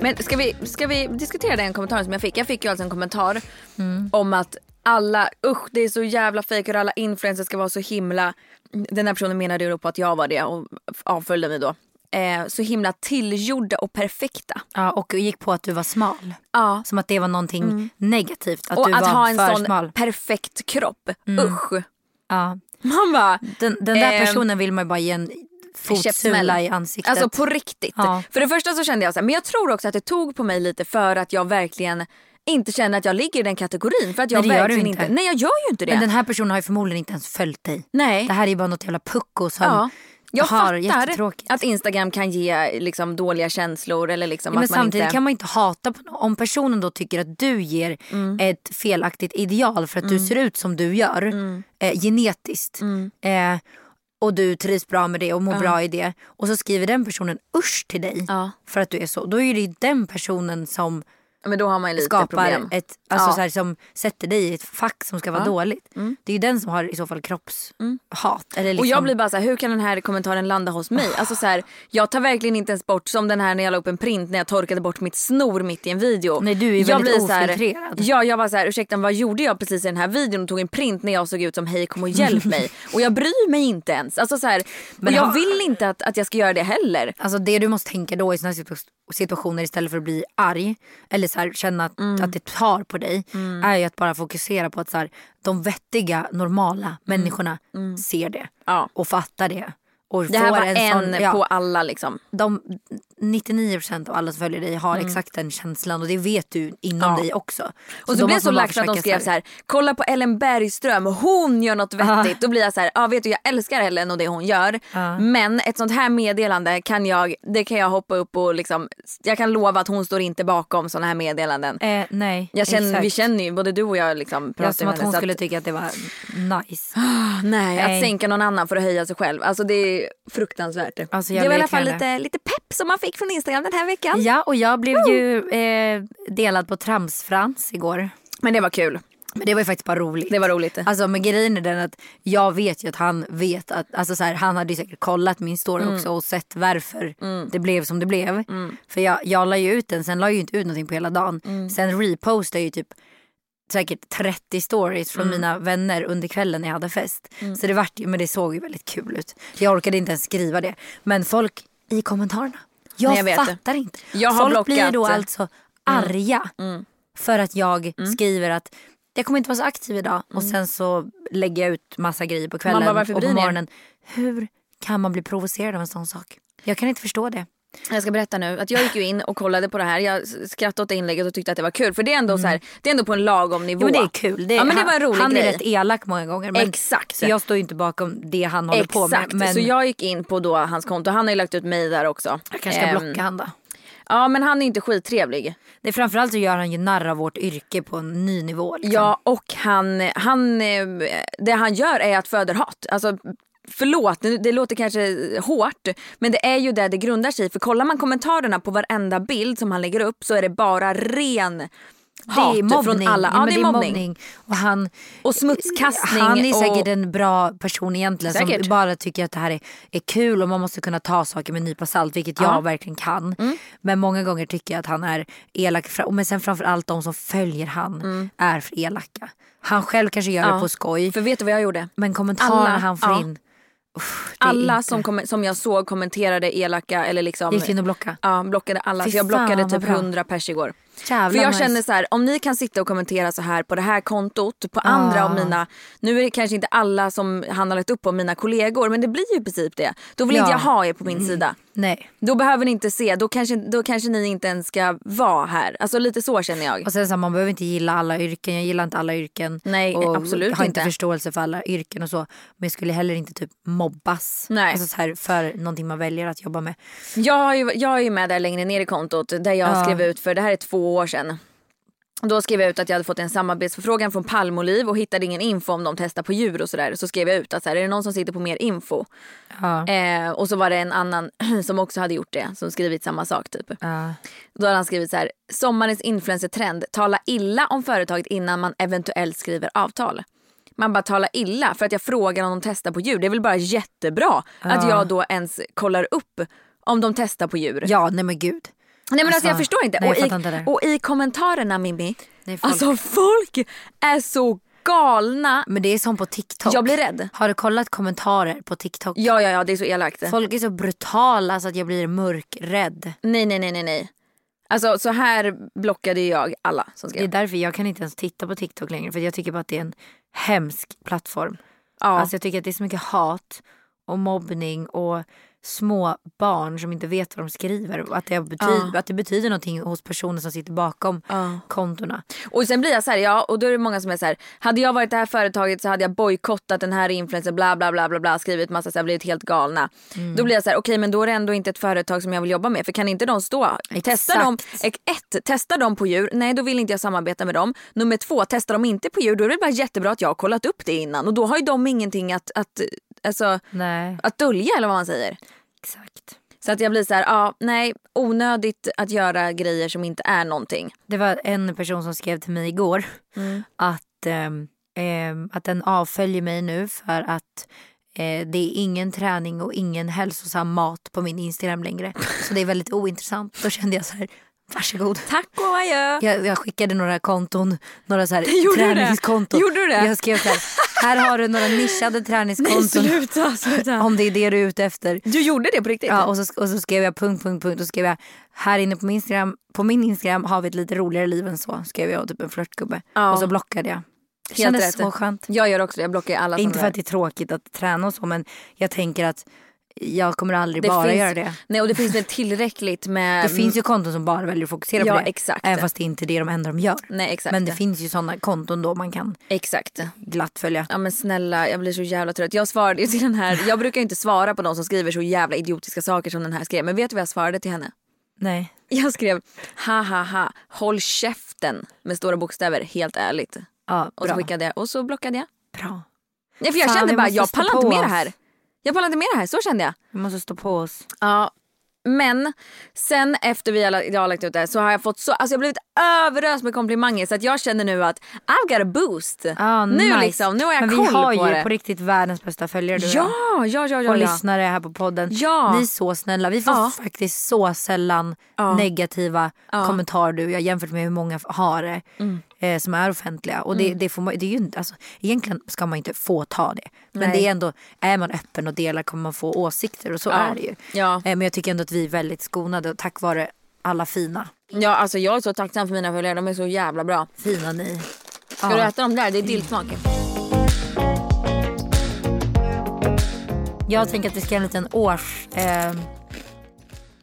S2: Men ska vi, ska vi diskutera den kommentaren som jag fick? Jag fick ju alltså en kommentar
S3: Mm.
S2: om att alla, usch det är så jävla fejk och alla influencers ska vara så himla, den här personen menade ju då på att jag var det och avföljde mig då. Eh, så himla tillgjorda och perfekta.
S3: Ja, och gick på att du var smal.
S2: Ja. Mm.
S3: Som att det var någonting negativt. Att
S2: och
S3: du
S2: att
S3: var Mm.
S2: ha en
S3: för
S2: sån
S3: smal.
S2: perfekt kropp, usch.
S3: Ja.
S2: Man bara,
S3: Den, den där
S2: Ehm,
S3: personen vill man ju bara ge en fotsula i ansiktet.
S2: Alltså på riktigt.
S3: Ja.
S2: För det första så kände jag så här, men jag tror också att det tog på mig lite för att jag verkligen inte känner att jag ligger i den kategorin. För att jag
S3: Nej, det gör du
S2: verkligen
S3: inte.
S2: Nej jag gör ju inte det.
S3: Men den här personen har ju förmodligen inte ens följt dig.
S2: Nej.
S3: Det här är ju bara något jävla pucko som
S2: ja. Jag
S3: har
S2: fattar
S3: jättetråkigt.
S2: att Instagram kan ge liksom, dåliga känslor eller liksom
S3: Ja, men
S2: att man
S3: samtidigt
S2: inte...
S3: kan man inte hata på någon. Om personen då tycker att du ger
S2: Mm.
S3: ett felaktigt ideal för att du ser ut som du gör
S2: Mm.
S3: eh, genetiskt. Eh, och du trivs bra med det och mår bra i det. Och så skriver den personen usch till dig
S2: Ja.
S3: för att du är så. Då är det ju den personen som
S2: Men då har man ju lite
S3: skapar
S2: problem.
S3: ett, alltså
S2: Ja. Mm.
S3: så här, som sätter dig i ett fack som ska vara dåligt. Det är ju den som har i så fall kroppshat. Eller liksom,
S2: Och jag blir bara så här, hur kan den här kommentaren landa hos mig? Alltså så här, jag tar verkligen inte ens bort, som den här när jag la upp en print när jag torkade bort mitt snor mitt i en video.
S3: Nej, du är ju
S2: jag
S3: väldigt
S2: blir så här,
S3: ofiltrerad.
S2: Ja, jag var så här, ursäkta men vad gjorde jag precis i den här videon och tog en print när jag såg ut som hej kom och hjälp mig. Och jag bryr mig inte ens. Alltså så här, men jag
S3: har-
S2: vill inte att, att jag ska göra det heller.
S3: Alltså det du måste tänka då i såna här situ- situationer istället för att bli arg eller så här, känna att,
S2: Mm.
S3: att det tar på dig är ju att bara fokusera på att så här, de vettiga, normala
S2: Mm.
S3: människorna ser det
S2: Ja.
S3: och fattar det. Och
S2: Det här
S3: får
S2: var en,
S3: sån- ja,
S2: på alla liksom.
S3: de 99% av alla som följer dig har exakt den känslan och det vet du inom dig också.
S2: Mm. Och så,
S3: då
S2: blev jag
S3: måste
S2: så
S3: man bara
S2: lack för att de
S3: försöka
S2: skrev så här, kolla på Ellen Bergström, hon gör något
S3: Ah.
S2: vettigt. Då blir jag så här, ja vet du jag älskar Ellen och det hon gör.
S3: Ah.
S2: Men ett sånt här meddelande kan jag, det kan jag hoppa upp och liksom, jag kan lova att hon står inte bakom såna här meddelanden.
S3: Eh, nej,
S2: Jag känner, vi
S3: exakt.
S2: känner ju, både du och jag liksom pratar
S3: Ja, som
S2: med
S3: att
S2: henne,
S3: hon
S2: så "Ah,
S3: skulle tycka att det var nice.
S2: nej,
S3: Nej.
S2: att sänka någon annan för att höja sig själv. Alltså det är fruktansvärt.
S3: Alltså,
S2: det
S3: jag
S2: var i
S3: vet
S2: alla fall
S3: henne.
S2: lite, lite pepp som man fick från Instagram den här veckan.
S3: Ja, och jag blev ju eh, delad på Tramsfrans igår.
S2: Men det var kul.
S3: Men det var ju faktiskt bara roligt.
S2: Det var roligt.
S3: Alltså men grejen är den att jag vet ju att han vet att, alltså så här, han hade ju säkert kollat min story
S2: Mm.
S3: också och sett varför det blev som det blev.
S2: Mm.
S3: För jag, jag la ju ut den, sen la jag ju inte ut någonting på hela dagen. Sen repostade jag ju typ säkert 30 stories
S2: Mm.
S3: från mina vänner under kvällen när jag hade fest. Så det vart ju, men det såg ju väldigt kul ut. Jag orkade inte ens skriva det. Men folk i kommentarerna. Jag,
S2: Nej, jag vet.
S3: fattar inte.
S2: Jag har
S3: folk
S2: blockat. Mm.
S3: blir då alltså arga för att jag skriver att jag kommer inte vara så aktiv idag och sen så lägger jag ut massa grejer på kvällen
S2: Man bara, varför
S3: och
S2: bryr
S3: på
S2: ni er?
S3: morgonen. Hur kan man bli provocerad av en sån sak? Jag kan inte förstå det.
S2: Jag ska berätta nu att jag gick ju in och kollade på det här. Jag skrattade åt det inlägget och tyckte att det var kul. För det är ändå, så här, det är ändå på en lagom nivå.
S3: Jo, men det är kul. Det är,
S2: ja, men det var en
S3: han-
S2: rolig
S3: han
S2: grej.
S3: är rätt elak många gånger. Men,
S2: Exakt.
S3: Så jag står ju inte bakom det han håller på med.
S2: Exakt.
S3: Men
S2: Så jag gick in på då hans konto. Han har ju lagt ut mig där också.
S3: jag kanske ska
S2: Ehm,
S3: blocka han då.
S2: Ja men han är inte skittrevlig.
S3: Det är framförallt så gör han ju narr av vårt yrke på en ny nivå. Liksom.
S2: Ja och han, han, eh, det han gör är att föder hat. Alltså, Förlåt, nu- det låter kanske hårt men det är ju där det grundar sig. För kollar man kommentarerna på varenda bild som han lägger upp så är det bara ren hat
S3: det är mobbning.
S2: från alla. Ja,
S3: men
S2: det är mobbning.
S3: Och han,
S2: Och smutskastning
S3: Han är
S2: och-
S3: säkert en bra person egentligen
S2: Säkert.
S3: som bara tycker att det här är, är kul och man måste kunna ta saker med en nypa salt vilket jag
S2: Ja. Mm.
S3: verkligen kan. Men många gånger tycker jag att han är elak. fra- Men sen framförallt de som följer han är för elaka. Han själv kanske gör det
S2: Mm. Ja.
S3: på skoj.
S2: För vet du vad jag gjorde?
S3: Men kommentarerna
S2: Alla-
S3: han får
S2: ja.
S3: in. Uff, det är
S2: Alla
S3: inte-
S2: som, kom, som jag såg kommenterade elaka eller liksom...
S3: Gick du in och blocka?
S2: Ja, blockade alla.
S3: Fy
S2: så jag blockade
S3: fan, vad
S2: typ
S3: bra.
S2: 100 pers igår.
S3: Jävlar
S2: För jag
S3: nice.
S2: känner så här, om ni kan sitta och kommentera så här på det här kontot,
S3: Ah.
S2: på andra av mina, nu är det kanske inte alla som han har lagt upp på mina kollegor, men det blir ju i princip det. Då vill
S3: Ja. Mm.
S2: inte jag ha er på min sida.
S3: Nej.
S2: Då behöver ni inte se, då kanske, då kanske ni inte ens ska vara här. Alltså lite så känner jag.
S3: Och sen så här, man behöver inte gilla alla yrken. Jag gillar inte alla yrken.
S2: Nej,
S3: och
S2: absolut
S3: har
S2: inte.
S3: förståelse för alla yrken och så. Men jag skulle heller inte typ mobbas.
S2: Nej.
S3: Alltså så här, för någonting man väljer att jobba med.
S2: Jag, har ju, jag är ju med där längre ner i kontot där jag skrev ut för det här är två år sedan. Då skrev jag ut att jag hade fått en samarbetsförfrågan från Palmoliv och hittade ingen info om de testar på djur och sådär. Så skrev jag ut att så här, är det någon som sitter på mer info?
S3: Ja.
S2: Eh, och så var det en annan som också hade gjort det som skrivit samma sak typ.
S3: Ja.
S2: Då hade han skrivit så här, sommarens influencertrend, tala illa om företaget innan man eventuellt skriver avtal. Man bara talar illa för att jag frågar om de testar på djur. Det är väl bara jättebra att jag då ens kollar upp om de testar på djur.
S3: ja, nej men gud.
S2: Nej men alltså,
S3: Alltså,
S2: jag förstår inte.
S3: nej, jag
S2: och, i,
S3: fattar inte det.
S2: och i kommentarerna Mimmi,
S3: Nej, folk-
S2: alltså folk är så galna.
S3: Men det är som på TikTok.
S2: Jag blir rädd.
S3: Har du kollat kommentarer på TikTok?
S2: Ja ja ja det är så elakt.
S3: Folk är så brutala så att jag blir mörkrädd.
S2: Nej nej nej nej nej. Alltså så här blockade jag alla som
S3: Det är
S2: skrev.
S3: därför jag kan inte ens titta på TikTok längre för jag tycker bara att det är en hemsk plattform.
S2: Ja.
S3: Alltså jag tycker att det är så mycket hat och mobbning och små barn som inte vet vad de skriver och att det, betyder, att det betyder någonting hos personer som sitter bakom
S2: Ja.
S3: kontona.
S2: Och sen blir jag så här, ja och då är det många som är så här, hade jag varit det här företaget så hade jag bojkottat den här influencern bla bla bla bla bla skrivit massa så här, blivit helt galna. Då blir jag så här, okej men då är det ändå inte ett företag som jag vill jobba med för kan inte de stå, testa dem,
S3: Exakt.
S2: ett, testa dem på djur, nej då vill inte jag samarbeta med dem. Nummer två, testa dem inte på djur, då är det bara jättebra att jag har kollat upp det innan och då har ju de ingenting att, att, alltså,
S3: Nej,
S2: att dölja eller vad man säger.
S3: exakt.
S2: Så att jag blir så här, ja nej onödigt att göra grejer som inte är någonting.
S3: Det var en person som skrev till mig igår
S2: Mm.
S3: att, ehm, ehm, att den avföljer mig nu för att eh, det är ingen träning och ingen hälsosam mat på min Instagram längre. Så det är väldigt ointressant. Då kände jag så här, varsågod.
S2: Tack och adjö!
S3: Jag, jag skickade några konton, några så här
S2: Gjorde du det?
S3: träningskonton.
S2: Gjorde du det?
S3: Jag skrev så här, här har du några nischade träningskonton
S2: sluta, sluta.
S3: om det är det du är ute efter.
S2: Du gjorde det på riktigt?
S3: Ja, och, så, och så skrev jag punkt, punkt, punkt och så skrev jag här inne på min Instagram, på min Instagram har vi ett lite roligare liv än så skrev jag och typ en flörtgubbe.
S2: Ja.
S3: Och så blockade jag. Det
S2: Helt
S3: kändes
S2: rätt.
S3: så skönt.
S2: Jag gör också det, jag blockar ju alla som
S3: Inte för att det är tråkigt att träna och så men jag tänker att jag kommer aldrig
S2: Det
S3: bara
S2: finns-
S3: göra det.
S2: Nej och det finns väl tillräckligt med...
S3: Det finns ju konton som bara väljer att fokusera
S2: Ja,
S3: på det.
S2: exakt.
S3: Även fast det är inte det de enda de gör.
S2: Nej exakt.
S3: Men det finns ju sådana konton då man kan
S2: Exakt.
S3: glatt följa.
S2: Ja men snälla jag blir så jävla trött. Jag svarade ju till den här, jag brukar ju inte svara på de som skriver så jävla idiotiska saker som den här skrev. Men vet du vad jag svarade till henne?
S3: Nej.
S2: Jag skrev ha ha ha, håll käften med stora bokstäver helt ärligt.
S3: Ja,
S2: Och
S3: bra.
S2: så skickade jag och så blockade jag.
S3: bra.
S2: Nej för jag
S3: Fan,
S2: kände
S3: vi
S2: bara
S3: måste
S2: jag
S3: stå
S2: pallar
S3: på
S2: inte med
S3: oss.
S2: det här. Jag pallar inte med det här, så kände jag.
S3: Vi måste stå på oss.
S2: Ja, men sen efter vi har, la- jag har lagt ut det här så har jag fått så, alltså jag har blivit överöst med komplimanger så att jag känner nu att I've got a boost.
S3: Ah,
S2: nu
S3: nice.
S2: liksom, nu har jag
S3: Men
S2: koll
S3: vi har
S2: på
S3: ju
S2: det.
S3: på riktigt världens bästa följare du och jag.
S2: ja, ja, ja, ja. ja.
S3: och lyssnare här på podden.
S2: Ja.
S3: Ni är så snälla. Vi får
S2: Ja.
S3: faktiskt så sällan negativa kommentarer du och jag jämfört med hur många har det
S2: Mm.
S3: eh, som är offentliga. Och det, det får man, det är ju, inte- alltså, egentligen ska man inte få ta det. Men
S2: Nej.
S3: det är ändå, är man öppen och delar kommer man få åsikter och så
S2: Ja.
S3: är det ju.
S2: Ja.
S3: Eh, men jag tycker ändå att vi är väldigt skonade och tack vare alla fina,
S2: ja, alltså jag är så tacksam för mina följare, de är så jävla bra.
S3: fina ni.
S2: Ska
S3: Ja.
S2: du äta dem där? Det är dillsmak.
S3: Jag tänker att vi ska göra en liten års... Eh,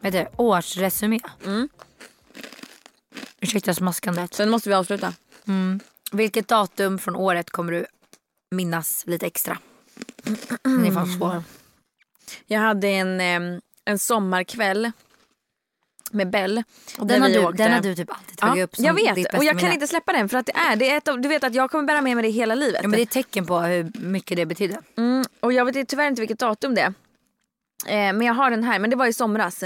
S3: vad heter det? Årsresumé.
S2: Mm.
S3: Ursäkta smaskandet.
S2: Sen måste vi avsluta.
S3: Vilket datum från året kommer du minnas lite extra?
S2: Mm.
S3: Den är fan svår.
S2: Jag hade en, ehm, en sommarkväll med Bell. när
S3: Den har,
S2: vi
S3: du,
S2: åkte.
S3: den har du typ alltid tagit
S2: Ja,
S3: upp som
S2: jag
S3: ditt
S2: vet
S3: bästa
S2: och jag kan
S3: minne.
S2: inte släppa den för att det är, det är ett av, du vet att jag kommer bära med mig det hela livet.
S3: Ja, men det är ett tecken på hur mycket det betyder.
S2: Mm, och jag vet tyvärr inte vilket datum det är. Eh, men jag har den här, men det var i somras.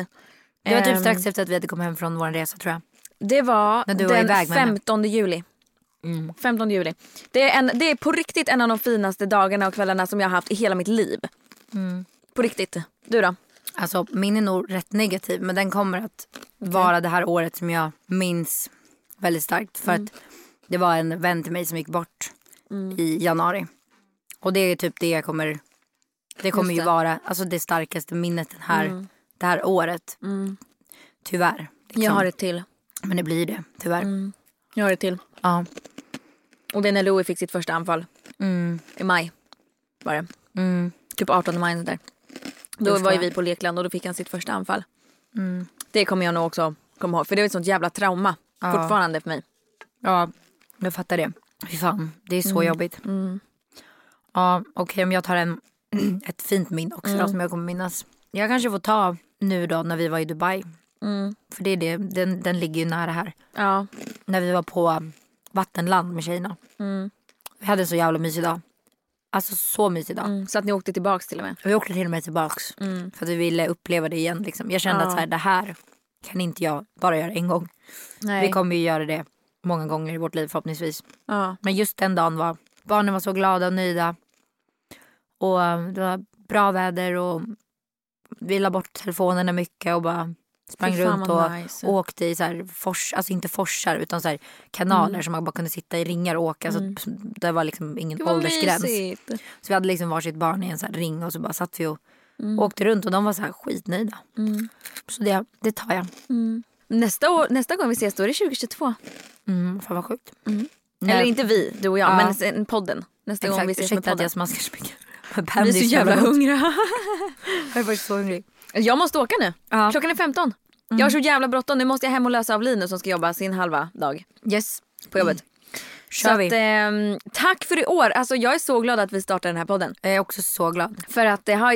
S3: Det var typ
S2: Ehm,
S3: strax efter att vi hade kommit hem från vår resa tror jag.
S2: Det var
S3: När du var
S2: den
S3: iväg Mm. med henne.
S2: 15 juli. 15 juli. Det är, en, det är på riktigt en av de finaste dagarna och kvällarna som jag har haft i hela mitt liv.
S3: Mm.
S2: På riktigt. Du då?
S3: Alltså min är nog rätt negativ men den kommer att vara det här året som jag minns väldigt starkt.
S2: Mm.
S3: För att det var en vän till mig som gick bort i januari. Och det är typ det jag kommer, det kommer ju vara alltså det starkaste minnet den här, det här året. Tyvärr. liksom.
S2: Mm. Jag har Mm. ett till.
S3: Men det blir det tyvärr.
S2: Jag har ett till.
S3: Ja.
S2: Och det är när Louis fick sitt första anfall.
S3: Mm.
S2: I maj var det. Typ 18 maj. Där. Då
S3: Just
S2: var ju
S3: det. Mm.
S2: vi på Lekland och då fick han sitt första anfall. Det kommer jag nog också komma ihåg. För det är ett sånt jävla trauma fortfarande för mig.
S3: ja, jag fattar det. Fy fan, det är så jobbigt. Ja, okej om jag tar en, ett fint minne också då, som jag kommer minnas. Jag kanske får ta nu då när vi var i Dubai.
S2: Mm.
S3: För det är det, den, den ligger ju nära här.
S2: Ja.
S3: När vi var på vattenland med tjejerna. Vi hade en så jävla mysig dag. Alltså så mysig dag.
S2: Mm. Så att ni åkte tillbaks till och med.
S3: Vi åkte till och med tillbaks. För att vi ville uppleva det igen. Liksom. Jag kände att så här, det här kan inte jag bara göra en gång.
S2: Nej.
S3: Vi kommer ju göra det många gånger i vårt liv förhoppningsvis.
S2: Ja.
S3: Men just den dagen var barnen var så glada och nöjda. Och eh, det var bra väder och vi la bort telefonerna mycket och bara sprang
S2: Fy fan
S3: runt
S2: vad
S3: och
S2: nice.
S3: åkte i så här fors, alltså inte forsar utan så här kanaler
S2: Mm.
S3: som man bara kunde sitta i ringar och åka. Så att det var liksom ingen åldersgräns.
S2: mysigt.
S3: Så vi hade liksom varsitt barn i en så här ring och så bara satt vi och
S2: Mm.
S3: åkte runt och de var så här skitnöjda. Så det, det tar jag.
S2: Nästa, år, nästa gång vi ses då är det 2022.
S3: Mm, fan vad sjukt.
S2: Eller inte vi, du och jag,
S3: Ja.
S2: men sen podden. Nästa gång vi
S3: Exakt,
S2: ses
S3: ursäkta
S2: med
S3: att
S2: podden.
S3: jag smaskar så mycket.
S2: Vi är så jävla hungriga.
S3: Jag är faktiskt så hungrig.
S2: Jag måste åka nu.
S3: Ja. Mm.
S2: Klockan är 15. Jag har så jävla bråttom. Nu måste jag hem och lösa av Linus som ska jobba sin halva dag
S3: Yes.
S2: på jobbet.
S3: Mm. Kör
S2: så att,
S3: vi.
S2: ehm, tack för i år. Alltså, jag är så glad att vi startar den här podden.
S3: Jag är också så glad.
S2: För att det har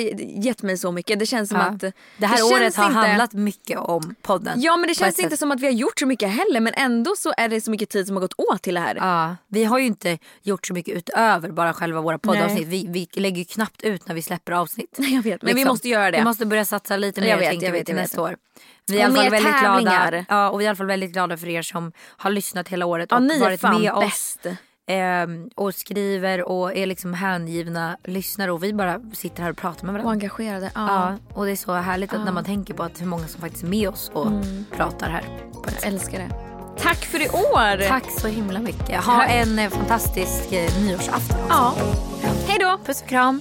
S2: gett mig så mycket. Det känns som att...
S3: Ja. Det här
S2: känns
S3: året har
S2: inte-
S3: handlat mycket om podden.
S2: Ja men det
S3: På
S2: känns
S3: ett
S2: inte
S3: sätt.
S2: som att vi har gjort så mycket heller men ändå så är det så mycket tid som har gått åt till det här.
S3: Ja, vi har ju inte gjort så mycket utöver bara själva våra poddavsnitt. Vi, vi lägger ju knappt ut när vi släpper avsnitt. Liksom.
S2: Nej, jag vet, men vi måste göra det.
S3: Vi måste börja satsa lite
S2: Jag
S3: mer
S2: vet,
S3: tänkte
S2: jag
S3: vi
S2: vet,
S3: till
S2: jag
S3: nästa
S2: vet.
S3: år. Vi är i
S2: Och
S3: alla fall
S2: mer
S3: väldigt
S2: tävlingar.
S3: glada. Ja, och vi är i alla fall väldigt glada för er som har lyssnat hela året
S2: Ja,
S3: och
S2: ni är
S3: varit
S2: fan
S3: med oss.
S2: bäst.
S3: ehm, och skriver och är liksom hängivna lyssnare och vi bara sitter här och pratar med varandra.
S2: Och engagerade. Ja.
S3: Ja, och det är så härligt att när man tänker på att hur många som faktiskt är med oss och pratar här. på ett sätt.
S2: Jag älskar det. Tack för i år!
S3: Tack så himla mycket. Ha
S2: Tack.
S3: en eh, fantastisk eh, nyårsafton.
S2: Ja. Hej då! Puss och kram.